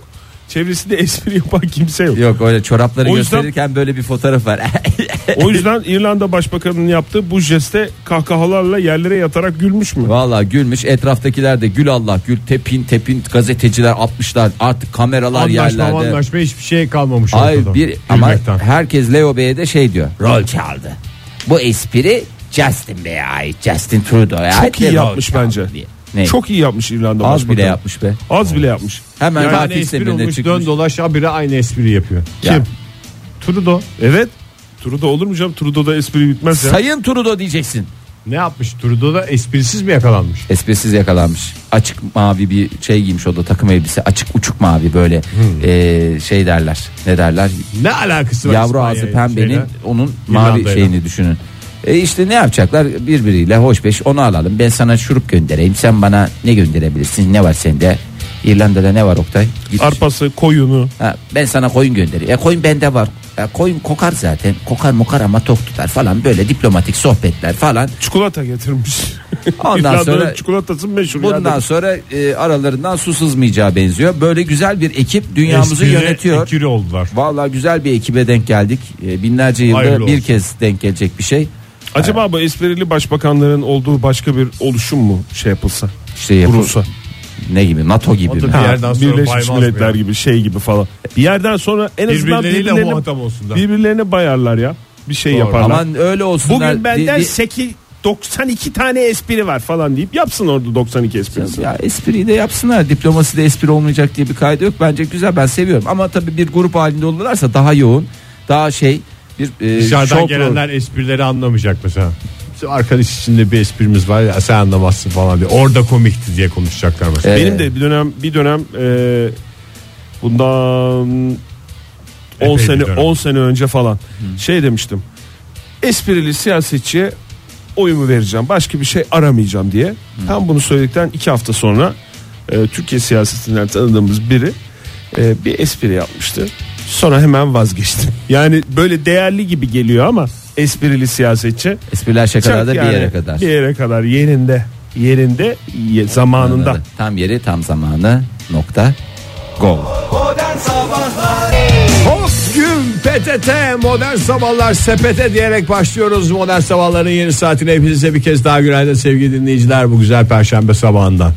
D: Çevresinde espri yapan kimse yok.
C: Yok öyle çorapları
D: O yüzden-
C: gösterirken böyle bir fotoğraf var.
D: O yüzden İrlanda Başbakanı'nın yaptığı bu jeste kahkahalarla yerlere yatarak gülmüş mü?
C: Valla gülmüş etraftakiler de gül Allah gül tepin tepin gazeteciler atmışlar artık kameralar
E: Anlaşma
C: yerlerde.
E: anlaşma hiçbir şey kalmamış
C: Ay
E: ortada.
C: bir ama
E: Gülmekten.
C: herkes Leo Bey'e de şey diyor. Rol çaldı. Bu espri Justin Bey'e ait. Justin Trudeau'ya ait.
D: Çok iyi
C: ve rol
D: yapmış
C: çaldı
D: bence.
C: diye. Ne? Çok
D: Çok iyi yapmış İrlanda
C: az
D: Başbakanı.
C: bile yapmış be.
D: Az bile yapmış.
C: Hemen
E: Yani
C: tatil
E: espri
C: seferinde
E: olmuş
C: çıkmış.
E: dön dolaş habire aynı espri yapıyor.
C: Ya.
E: Kim? Trudeau.
D: Evet. Trudeau olur mu canım? Trudeau'da espri bitmez ya.
C: Sayın Trudeau diyeceksin.
E: Ne yapmış? Trudeau da esprisiz mi yakalanmış?
C: Esprisiz yakalanmış. Açık mavi bir şey giymiş o da takım elbise. Açık uçuk mavi böyle
E: Hmm.
C: eee, şey derler. Ne derler?
E: Ne alakası var?
C: Yavru
E: İspanya'ya
C: ağzı pembenin
E: şeyle?
C: onun mavi
E: İrlanda'yla.
C: şeyini düşünün. E işte ne yapacaklar birbiriyle hoş beş onu alalım. Ben sana şurup göndereyim. Sen bana ne gönderebilirsin? Ne var sende? İrlanda'da ne var Oktay? Git.
D: Arpası, koyunu.
C: Ha, ben sana koyun göndereyim. E koyun bende var. E, koyun kokar zaten. Kokar mokar ama tok tutar falan böyle diplomatik sohbetler falan.
D: Çikolata getirmiş.
C: Ondan
D: İrlanda'nın
C: sonra-
D: çikolatası meşhur.
C: Bundan
D: yani.
C: sonra e, aralarından su sızmayacağı benziyor. Böyle güzel bir ekip dünyamızı
E: Esprili
C: yönetiyor.
E: Ekiri oldular.
C: Vallahi güzel bir ekibe denk geldik. E, binlerce yılda
E: Hayırlı
C: bir
E: olsun.
C: kez denk gelecek bir şey.
D: Acaba bu esprili başbakanların olduğu başka bir oluşum mu şey yapılsa?
C: İşte yapıl-
D: Kurulsa.
C: Ne gibi? NATO gibi mi?
E: Bir
D: Ha,
E: yerden sonra baymaz
D: Birleşmiş Milletler
E: mı
D: gibi şey gibi falan. Bir yerden sonra en azından
E: Birbirleriyle
D: birbirlerini,
E: muhatap olsunlar.
D: Birbirlerine bayarlar ya. Bir şey
E: Doğru.
D: yaparlar.
C: Aman öyle olsunlar.
D: Bugün benden
C: Di- di-
D: 8 92 tane espri var falan deyip yapsın orada 92 esprisi.
C: ya espriyi de yapsınlar. Diplomasi de espri olmayacak diye bir kaydı yok. Bence güzel ben seviyorum. Ama tabii bir grup halinde olurlarsa daha yoğun. Daha şey bir e,
E: Dışarıdan
C: şov
E: gelenler esprileri anlamayacak mesela. Bizim arkadaş içinde bir esprimiz var ya sen anlamazsın falan diye. Orada komikti diye konuşacaklar mesela.
C: Evet.
D: Benim de bir dönem bir dönem e, bundan
E: bir
D: 10 sene
E: dönem.
D: 10 sene önce falan şey demiştim. Esprili siyasetçiye oyumu vereceğim. Başka bir şey aramayacağım diye. Tam bunu söyledikten 2 hafta sonra e, Türkiye siyasetinden tanıdığımız biri e, bir espri yapmıştı. Sonra hemen vazgeçtim. Yani böyle değerli gibi geliyor ama esprili siyasetçi
C: program. Espriler şakalar
D: Çok
C: da
D: yani
C: bir yere kadar.
D: Bir yere kadar yerinde. Yerinde ye- zamanında.
C: Tam yeri tam zamanı nokta gol.
B: Modern Sabahlar
E: Hop gün PTT modern sabahlar sepete diyerek başlıyoruz. Modern sabahların yeni saatine hepinize bir kez daha günaydın sevgili dinleyiciler bu güzel perşembe sabahında.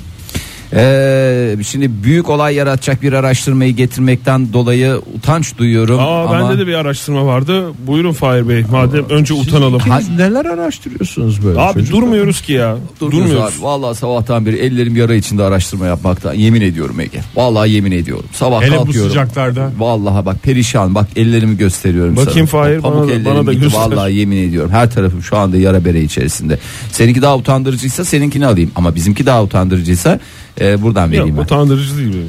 C: Ee, şimdi büyük olay yaratacak bir araştırmayı getirmekten dolayı utanç duyuyorum.
D: Aa
C: ama...
D: bende de bir araştırma vardı. Buyurun Fahir Bey. Madem önce
C: şey
D: utanalım.
E: neler araştırıyorsunuz böyle?
D: Abi durmuyoruz ki ya.
C: Durmuyoruz.
D: Durmuyoruz.
C: Abi. Vallahi sabahtan beri ellerim yara içinde araştırma yapmaktan yemin ediyorum Ege. Vallahi yemin ediyorum. Sabah
E: Hele bu
C: kalkıyorum.
E: sıcaklarda.
C: Vallahi bak perişan bak ellerimi gösteriyorum
D: Bakayım
C: sana.
D: Fahir,
C: Pamuk
D: bana da-
C: ellerim
D: bana da
C: gitti.
D: göster.
C: Vallahi yemin ediyorum her tarafım şu anda yara bere içerisinde. Seninki daha utandırıcıysa seninkini alayım ama bizimki daha utandırıcıysa e, buradan
D: Yok,
C: vereyim ben.
D: utandırıcı değil. mi?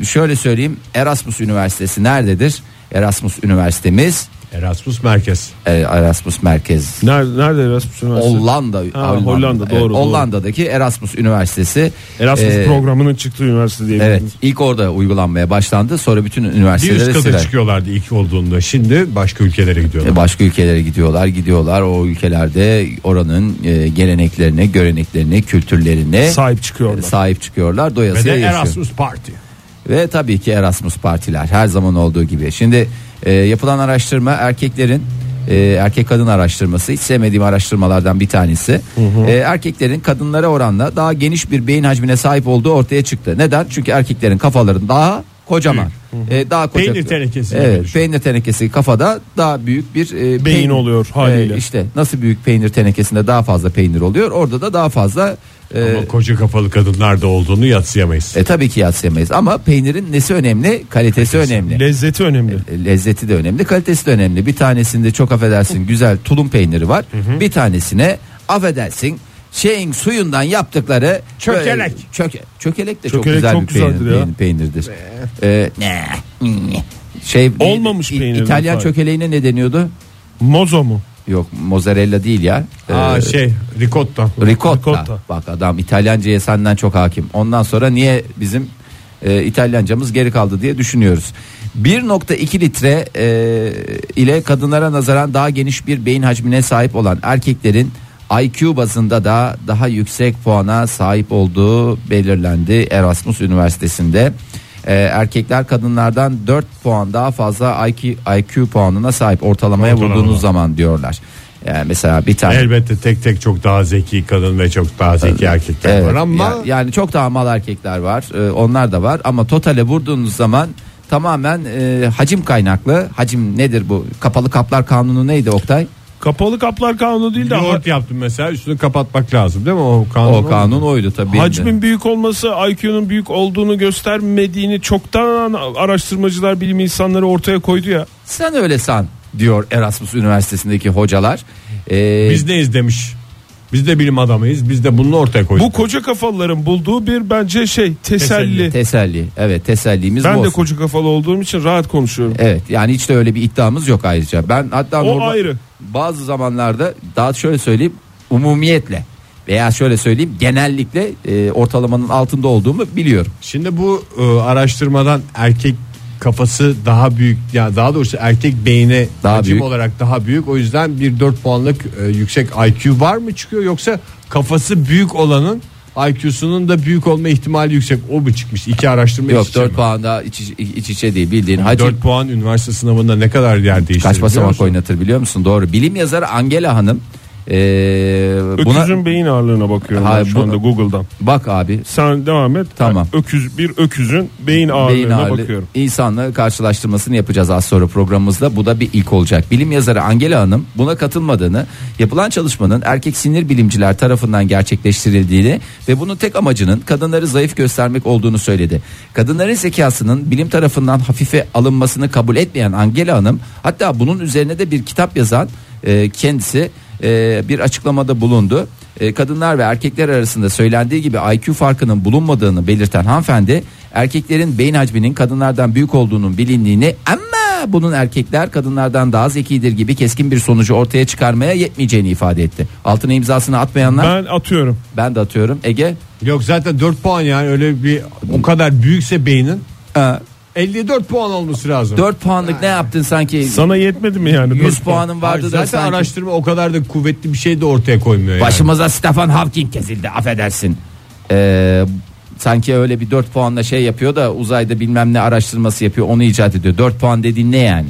C: Ee, şöyle söyleyeyim Erasmus Üniversitesi nerededir? Erasmus Üniversitemiz
E: Erasmus Merkez.
C: e, Erasmus Merkez
D: Nerede, nerede Erasmus Üniversitesi?
C: Hollanda, Hollanda'da.
D: Hollanda,
C: Evet,
D: doğru, doğru.
C: Hollanda'daki Erasmus Üniversitesi
D: Erasmus
C: e,
D: programının çıktığı üniversite diye.
C: Evet ilk orada uygulanmaya başlandı sonra bütün
E: Bir üst
C: üniversitelere
E: kata
C: siler.
E: çıkıyorlardı ilk olduğunda. Şimdi başka ülkelere gidiyorlar.
C: E, Başka ülkelere gidiyorlar gidiyorlar o ülkelerde oranın e, geleneklerine göreneklerine kültürlerine
D: Sahip çıkıyorlar.
C: e, sahip çıkıyorlar
E: Ve
C: doyasıya
E: de
C: yaşıyor.
E: Erasmus Party.
C: Ve tabii ki Erasmus partiler her zaman olduğu gibi. Şimdi e, yapılan araştırma erkeklerin e, erkek kadın araştırması hiç sevmediğim araştırmalardan bir tanesi. E, erkeklerin kadınlara oranla daha geniş bir beyin hacmine sahip olduğu ortaya çıktı. Neden? Çünkü erkeklerin kafaları daha kocaman. E, daha koca.
E: Peynir tenekesi gibi
C: Evet,
E: düşün.
C: peynir tenekesi kafada daha büyük bir e,
D: Beyin oluyor haliyle.
C: E, işte nasıl büyük peynir tenekesinde daha fazla peynir oluyor. Orada da daha fazla e,
E: Ama koca kafalı kadınlar da olduğunu yatsıyamayız.
C: e tabii ki yatsıyamayız ama peynirin nesi önemli? Kalitesi önemli. E,
D: Lezzeti önemli.
C: Lezzeti de önemli, kalitesi de önemli. Bir tanesinde çok affedersin güzel tulum peyniri var. Bir tanesine affedersin şeyin suyundan yaptıkları
E: Çökelek.
C: böyle Çöke, çökelek de çok
D: Çökelek
C: güzel
D: çok
C: bir peynir,
D: güzeldir ya.
C: peynir- peynirdir. Ee, ne? Şey
D: Olmamış
C: İ-
D: peynirden
C: İtalyan
D: fark.
C: çökeleğine ne deniyordu?
D: Mozo mu?
C: Yok mozzarella değil ya.
E: Aa
C: Ee,
E: şey ricotta.
C: Ricotta.
D: Ricotta.
C: Bak adam İtalyanca'ya senden çok hakim. Ondan sonra niye bizim e, İtalyancamız geri kaldı diye düşünüyoruz. 1.2 litre e, ile kadınlara nazaran daha geniş bir beyin hacmine sahip olan erkeklerin IQ bazında da daha yüksek puana sahip olduğu belirlendi Erasmus Üniversitesi'nde. E, erkekler kadınlardan 4 puan daha fazla IQ, IQ puanına sahip ortalamaya
D: Ortalama.
C: vurduğunuz zaman diyorlar. Yani mesela bir tane
E: Elbette tek tek çok daha zeki kadın ve çok daha zeki erkekler
C: Evet,
E: var ama
C: ya- yani çok daha mal erkekler var. Ee, onlar da var ama totale vurduğunuz zaman tamamen e, hacim kaynaklı. Hacim nedir bu? Kapalı kaplar kanunu neydi Oktay?
D: Kapalı kaplar kanunu değil de
E: yoğurt yaptım mesela üstünü kapatmak lazım değil mi o kanun?
C: o kanun oydu tabii.
D: Hacmin büyük olması IQ'nun büyük olduğunu göstermediğini çoktan araştırmacılar bilim insanları ortaya koydu ya.
C: Sen öyle san diyor Erasmus Üniversitesi'ndeki hocalar. Ee,
E: Biz neyiz demiş. Biz de bilim adamıyız. Biz de bunu ortaya koyduk.
D: Bu koca kafaların bulduğu bir bence şey teselli.
E: Teselli.
C: teselli. Evet tesellimiz bu
D: Ben de
C: olsun.
D: koca kafalı olduğum için rahat konuşuyorum.
C: Evet yani hiç de öyle bir iddiamız yok ayrıca. Ben hatta
D: O
C: normal-
D: ayrı.
C: bazı zamanlarda daha şöyle söyleyeyim umumiyetle veya şöyle söyleyeyim genellikle e, ortalamanın altında olduğumu biliyorum.
E: Şimdi bu e, araştırmadan erkek kafası daha büyük ya daha doğrusu erkek beyni
C: Daha
E: hacim
C: büyük.
E: olarak daha büyük. O yüzden bir 4 puanlık e, yüksek IQ var mı çıkıyor yoksa kafası büyük olanın IQ'sunun da büyük olma ihtimali yüksek o mu çıkmış? İki araştırma
C: Yok
E: iç içe
C: 4
E: mi?
C: puan daha iç, iç içe değil bildiğin hacim.
E: 4 puan üniversite sınavında ne kadar yer değiştirir?
C: Kaç
E: şey biliyor
C: basamak
E: musun?
C: oynatır biliyor musun? Doğru. Bilim yazarı Angela Hanım e, buna
D: Öküzün beyin ağırlığına bakıyorum ben
C: Hayır,
D: şu
C: bu-
D: anda Google'dan.
C: bak abi
D: Sen devam et.
C: Tamam.
D: Ben Öküz bir öküzün beyin ağırlığına
C: beyin ağırlığı
D: bakıyorum.
C: insanla karşılaştırmasını yapacağız az sonra programımızda. Bu da bir ilk olacak. Bilim yazarı Angela Hanım buna katılmadığını, yapılan çalışmanın erkek sinir bilimciler tarafından gerçekleştirildiğini ve bunun tek amacının kadınları zayıf göstermek olduğunu söyledi. Kadınların zekasının bilim tarafından hafife alınmasını kabul etmeyen Angela Hanım hatta bunun üzerine de bir kitap yazan e, kendisi e, bir açıklamada bulundu. E, kadınlar ve erkekler arasında söylendiği gibi IQ farkının bulunmadığını belirten hanımefendi erkeklerin beyin hacminin kadınlardan büyük olduğunun bilindiğini ama bunun erkekler kadınlardan daha zekidir gibi keskin bir sonucu ortaya çıkarmaya yetmeyeceğini ifade etti. Altına imzasını atmayanlar ben,
D: Ben atıyorum.
C: de atıyorum Ege
E: Yok zaten 4 puan yani öyle bir o kadar büyükse beynin
C: Ha.
E: 54 puan olması lazım.
C: 4 "Ee, puanlık ne yaptın sanki
D: Sana yetmedi mi yani?
C: 100
D: Dört puan.
C: puanın
E: Hayır,
C: vardı da
E: zaten
C: sanki
E: araştırma o kadar da kuvvetli bir şey de ortaya koymuyor yani.
C: başımıza Stefan Hawking kesildi affedersin. Ee, sanki öyle bir 4 puanla şey yapıyor da uzayda bilmem ne araştırması yapıyor onu icat ediyor. 4 puan dediğin ne yani?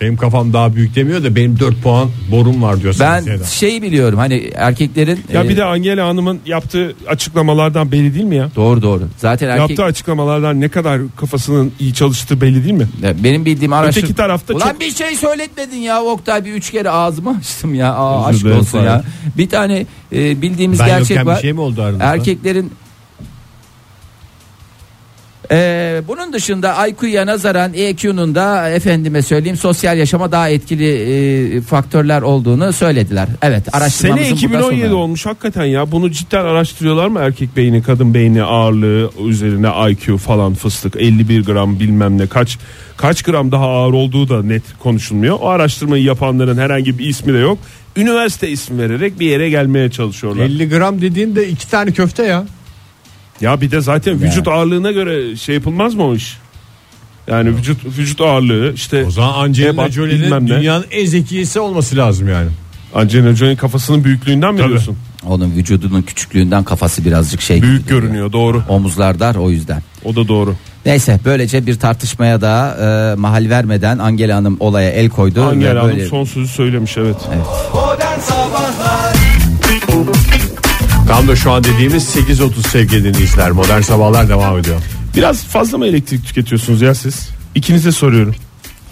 E: Benim kafam daha büyük demiyor da benim 4 puan borum var diyor.
C: Ben
E: Sayın Seyda.
C: şey biliyorum hani erkeklerin
D: Ya
C: e,
D: bir de Angela Hanım'ın yaptığı açıklamalardan belli değil mi ya?
C: doğru doğru. Zaten erkek
D: Yaptığı açıklamalardan ne kadar kafasının iyi çalıştığı belli değil mi?
C: Ya e, benim bildiğim araştır.
D: Öteki tarafta
C: Ulan
D: çok-
C: bir şey söyletmedin ya Oktay bir üç kere ağzımı açtım ya. Aa,
E: Özür
C: aşk
E: dilerim,
C: olsun ya. Bir tane e, bildiğimiz
E: Ben
C: gerçek
E: yokken
C: var.
E: bir şey mi oldu aranızda?
C: Erkeklerin Ee, bunun dışında IQ'ya nazaran EQ'nun da efendime söyleyeyim sosyal yaşama daha etkili e, faktörler olduğunu söylediler. Evet araştırmamızın
D: Sene
C: burada
D: 2017
C: sonu.
D: olmuş hakikaten ya. Bunu cidden araştırıyorlar mı erkek beyni, kadın beyni ağırlığı üzerine IQ falan fıstık 51 gram bilmem ne kaç kaç gram daha ağır olduğu da net konuşulmuyor. O araştırmayı yapanların herhangi bir ismi de yok. Üniversite ismi vererek bir yere gelmeye çalışıyorlar.
E: 50 gram dediğin de 2 tane köfte ya.
D: Ya bir de zaten vücut ağırlığına göre şey yapılmaz mı o iş? Yani vücut vücut ağırlığı işte
E: O zaman Angelina
D: ebat,
E: Jolie'nin
D: bilmem ne.
E: dünyanın en zekisi olması lazım yani.
D: Angelina Jolie'nin kafasının büyüklüğünden mi
E: Tabii.
D: diyorsun?
C: Onun vücudunun küçüklüğünden kafası birazcık şey.
D: Büyük görünüyor doğru.
C: Omuzlar dar o yüzden.
D: O da doğru.
C: Neyse böylece bir tartışmaya da e, mahal vermeden Angela Hanım olaya el koydu.
D: Angela
C: Ve
D: Hanım
C: böyle-
D: son sözü söylemiş evet.
B: Modern Sabahlar
E: Tam da şu an dediğimiz 8.30 sevgili dinleyiciler. Modern sabahlar devam ediyor.
D: Biraz fazla mı elektrik tüketiyorsunuz ya siz? İkinize soruyorum.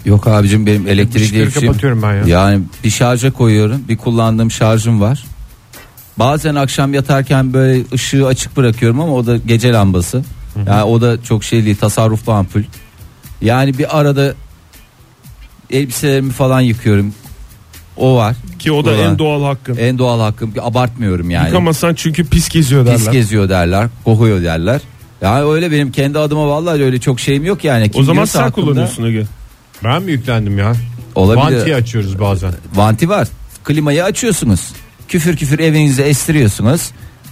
C: Yok abicim benim elektrik
E: Işıkları
C: direksiyim.
E: kapatıyorum ben ya.
C: Yani bir şarja koyuyorum bir kullandığım şarjım var. Bazen akşam yatarken böyle ışığı açık bırakıyorum ama o da gece lambası. Yani o da çok şey değil tasarruflu ampul. Yani bir arada elbiselerimi falan yıkıyorum. O var.
D: Ki o da
C: Ulan.
D: en doğal hakkın.
C: En doğal hakkım abartmıyorum E, yani.
D: Yıkamazsan çünkü pis geziyor derler.
C: Pis geziyor derler. Kokuyor derler. Yani öyle benim kendi adıma vallahi öyle çok şeyim yok yani. Kim
D: o zaman
C: diyorsa
D: sen
C: hakkımda-
D: kullanıyorsun Ege.
E: Ben mi yüklendim ya?
C: Olabilir.
E: Vantiyi açıyoruz bazen.
C: Vanti var. Klimayı açıyorsunuz. Küfür küfür evinizi estiriyorsunuz.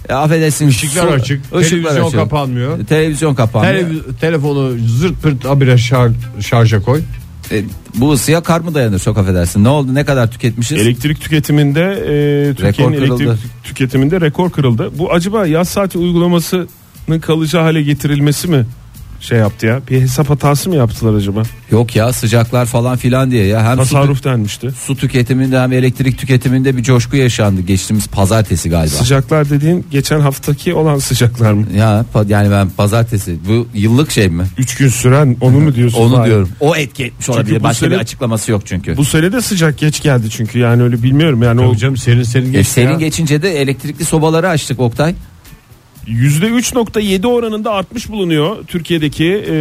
C: E, affedersiniz.
E: Işıklar
C: su-
E: açık, televizyon kapanmıyor.
C: Televizyon kapanmıyor.
E: Televiz- telefonu zırt pırt abire şar- şarja koy.
C: E, bu ısıya kar mı dayanır çok affedersin. Ne oldu ne kadar tüketmişiz?
D: Elektrik tüketiminde e, Türkiye'nin
C: Rekor kırıldı.
D: elektrik tüketiminde rekor kırıldı. Bu acaba yaz saati uygulamasının kalıcı hale getirilmesi mi şey yaptı ya? Bir hesap hatası mı yaptılar acaba?
C: Yok ya sıcaklar falan filan diye ya. Hem su,
D: Tasarruf denmişti.
C: su tüketiminde hem elektrik tüketiminde bir coşku yaşandı geçtiğimiz pazartesi galiba.
D: Sıcaklar dediğin geçen haftaki olan sıcaklar mı?
C: ya pa- yani ben pazartesi bu yıllık şey mi?
D: 3 gün süren onu mu diyorsun?
C: Onu
D: Hayır.
C: diyorum. O etki etmiş olabilir.
D: bu
C: Başka bir
D: sene-
C: açıklaması yok çünkü.
D: Bu sene de sıcak geç geldi çünkü yani öyle bilmiyorum yani o
E: Hocam serin serin
C: E,
E: geçti
C: senin
E: ya.
C: geçince de elektrikli sobaları açtık Oktay.
D: %3.7 oranında artmış bulunuyor. Türkiye'deki e,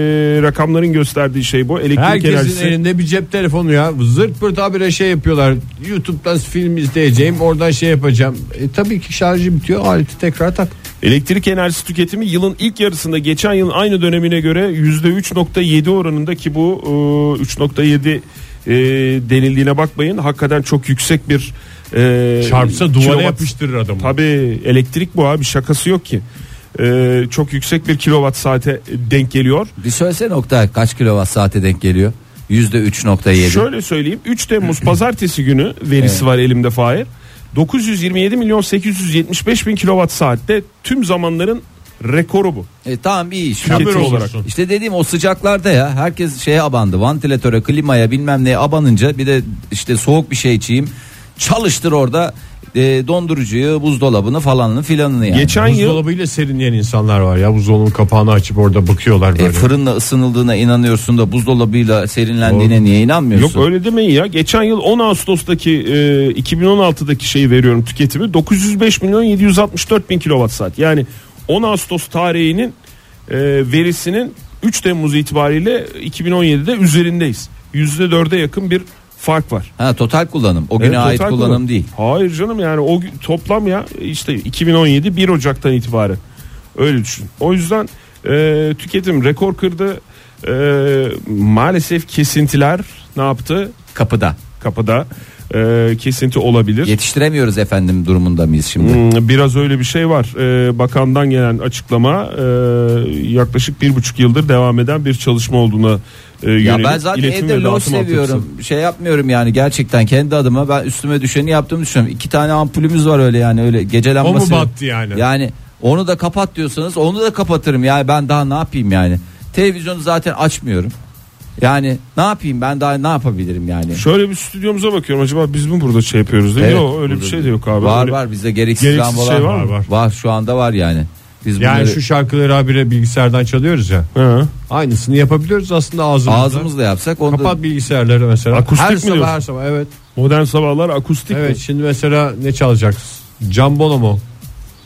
D: rakamların gösterdiği şey bu. Elektrik
E: Herkesin
D: enerjisi.
E: elinde bir cep telefonu ya. Zırt pırt habire şey yapıyorlar. YouTube'dan film izleyeceğim, oradan şey yapacağım. E, tabii ki şarjı bitiyor, aleti tekrar tak.
D: Elektrik enerjisi tüketimi yılın ilk yarısında geçen yılın aynı dönemine göre %3.7 oranında ki bu e, 3.7 e, denildiğine bakmayın. Hakikaten çok yüksek bir e,
E: Çarpsa duvara
D: kilowatt-
E: yapıştırır adamı.
D: Tabii elektrik bu abi şakası yok ki. E, çok yüksek bir kilowatt saate denk geliyor.
C: Bir söylesene Oktay kaç kilowatt saate denk geliyor? Yüzde 3.7.
D: Şöyle söyleyeyim 3 Temmuz pazartesi günü verisi var elimde Fahir. 927 milyon 875 bin kilowatt saatte tüm zamanların rekoru bu.
C: E, tamam iyi iş.
D: Tüketim
C: Tüketim.
D: olarak.
C: İşte dediğim o sıcaklarda ya herkes şeye abandı. Ventilatöre, klimaya bilmem neye abanınca bir de işte soğuk bir şey içeyim. Çalıştır orada e, dondurucuyu, buzdolabını falanını filanını yani.
D: Geçen yıl
E: Buzdolabıyla serinleyen insanlar var ya. Buzdolabının kapağını açıp orada bakıyorlar
C: E,
E: böyle.
C: fırınla ısınıldığına inanıyorsun da buzdolabıyla serinlendiğine niye inanmıyorsun?
D: Yok öyle demeyin ya. Geçen yıl 10 Ağustos'taki e, 2016'daki şeyi veriyorum tüketimi 905 milyon 764 bin kilowatt saat. Yani 10 Ağustos tarihinin e, verisinin 3 Temmuz itibariyle 2017'de üzerindeyiz. %4'e yakın bir fark var.
C: Ha total kullanım. O güne
D: Evet,
C: ait
D: total
C: kullanım, değil.
D: Hayır canım yani o gün- toplam ya işte 2017 1 Ocak'tan itibaren öyle düşün. O yüzden e, tüketim rekor kırdı. E, maalesef kesintiler ne yaptı?
C: Kapıda.
D: kapıda e, kesinti olabilir.
C: Yetiştiremiyoruz efendim durumunda mıyız şimdi?
D: Hmm, Biraz öyle bir şey var. E, bakandan gelen açıklama e, yaklaşık bir buçuk yıldır devam eden bir çalışma olduğuna e,
C: Ya
D: yönelik.
C: ben zaten
D: iletim
C: evde
D: ve
C: loş
D: dağıtım altyapısı.
C: seviyorum. Şey yapmıyorum yani gerçekten kendi adıma ben üstüme düşeni yaptığımı düşünüyorum. İki tane ampulümüz var öyle yani öyle gece
E: o mu
C: lambası.
E: battı yani?
C: Yani onu da kapat diyorsanız onu da kapatırım. Yani ben daha ne yapayım yani? Televizyonu zaten açmıyorum. Yani ne yapayım ben daha ne yapabilirim yani?
D: Şöyle bir stüdyomuza bakıyorum acaba biz mi burada şey yapıyoruz değil mi?
C: Evet,
D: Yok öyle bir
C: burada
D: şey de yok abi.
C: var
D: Öyle-
C: var bizde gereksiz,
D: Gereksiz
C: lambalar
D: şey
C: var,
D: var mı?
E: Var.
C: şu anda var yani. Biz
E: Yani
C: bunları
E: şu şarkıları habire bilgisayardan çalıyoruz ya.
D: Hı.
E: Aynısını yapabiliyoruz aslında ağzımızda.
C: ağzımızla yapsak onu da-
E: Kapat bilgisayarları mesela.
D: Akustik
E: her
D: mi
E: sabah
D: diyorsun?
E: her sabah evet.
D: Modern sabahlar akustik
E: Evet
D: mi?
E: şimdi mesela ne çalacaksın? Can Bonomo.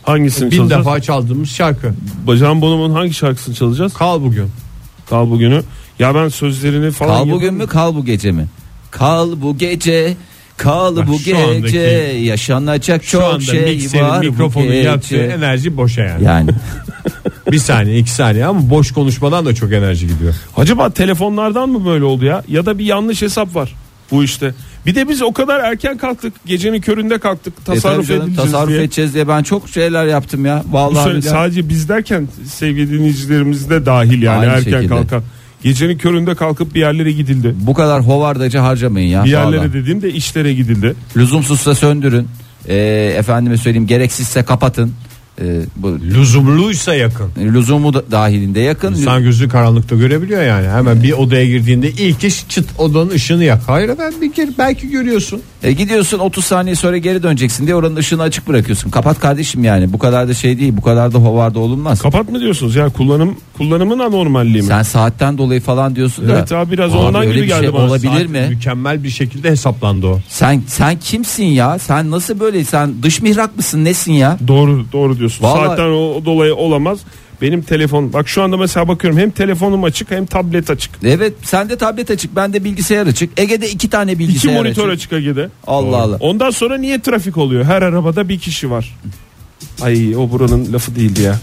D: Hangisini
E: Bin
D: çalacağız?
E: defa çaldığımız şarkı.
D: Bacan Bonomo'nun hangi şarkısını çalacağız?
E: Kal bugün.
D: Kal bugünü. Ya ben sözlerini falan
C: Kal bugün
D: yapayım.
C: mü kal bu gece mi? Kal bu gece Kal
E: Bak
C: bu
E: şu
C: gece
E: andaki-
C: yaşanacak
E: Şu
C: çok
E: anda
C: şey
E: mikserin
C: var Şey- bu
E: mikrofonu
C: gece.
E: yaptığı enerji boşa yani.
C: Yani
E: Bir saniye iki saniye ama boş konuşmadan da çok enerji gidiyor.
D: Acaba telefonlardan mı böyle oldu ya? Ya da bir yanlış hesap var bu işte. Bir de biz o kadar erken kalktık. Gecenin köründe kalktık.
C: e, tabii
D: Tasarruf
C: canım,
D: edileceğiz
C: tasarruf
D: diye.
C: edeceğiz diye ben çok şeyler yaptım ya.
D: Bu
C: Vallahi
D: sö-
C: billahi.
D: sadece biz derken sevgili dinleyicilerimiz de dahil yani
C: Aynı
D: erken
C: şekilde.
D: kalkan. Gecenin köründe kalkıp bir yerlere gidildi.
C: bu kadar hovardaca harcamayın ya.
D: Bir yerlere
C: vallahi.
D: dediğimde işlere gidildi.
C: Lüzumsuzsa söndürün. E, efendime söyleyeyim gereksizse kapatın. E, bu
E: Lüzumluysa yakın.
C: lüzumu da, dahilinde yakın.
E: İnsan gözü karanlıkta görebiliyor yani. Hemen bir odaya girdiğinde ilk iş çıt odanın ışığını yak. Hayır ben bir kere belki görüyorsun.
C: E, gidiyorsun 30 saniye sonra geri döneceksin diye oranın ışığını açık bırakıyorsun. Kapat kardeşim yani. Bu kadar da şey değil. Bu kadar da hovarda olunmaz.
D: Kapat mı diyorsunuz ya kullanım kullanımın anormalliği mi?
C: Sen saatten dolayı falan diyorsun da.
D: Evet abi, biraz ondan
C: öyle
D: gibi
C: bir
D: geldi
C: şey
D: bana.
C: Olabilir
E: Saat
C: mi?
E: Mükemmel bir şekilde hesaplandı o.
C: Sen sen kimsin ya? Sen nasıl böyle? Sen dış mihrak mısın? Nesin ya?
D: Doğru doğru diyorsun.
C: Vallahi-
D: Saatten o, o dolayı olamaz. Benim telefon bak şu anda mesela bakıyorum hem telefonum açık hem tablet açık.
C: Evet, sende tablet açık, bende bilgisayar açık. Ege'de iki tane
D: İki
C: bilgisayar
D: monitör
C: açık.
D: açık Ege'de.
C: Allah Allah.
D: Ondan sonra niye trafik oluyor? Her arabada bir kişi var. Ay o buranın lafı değildi ya.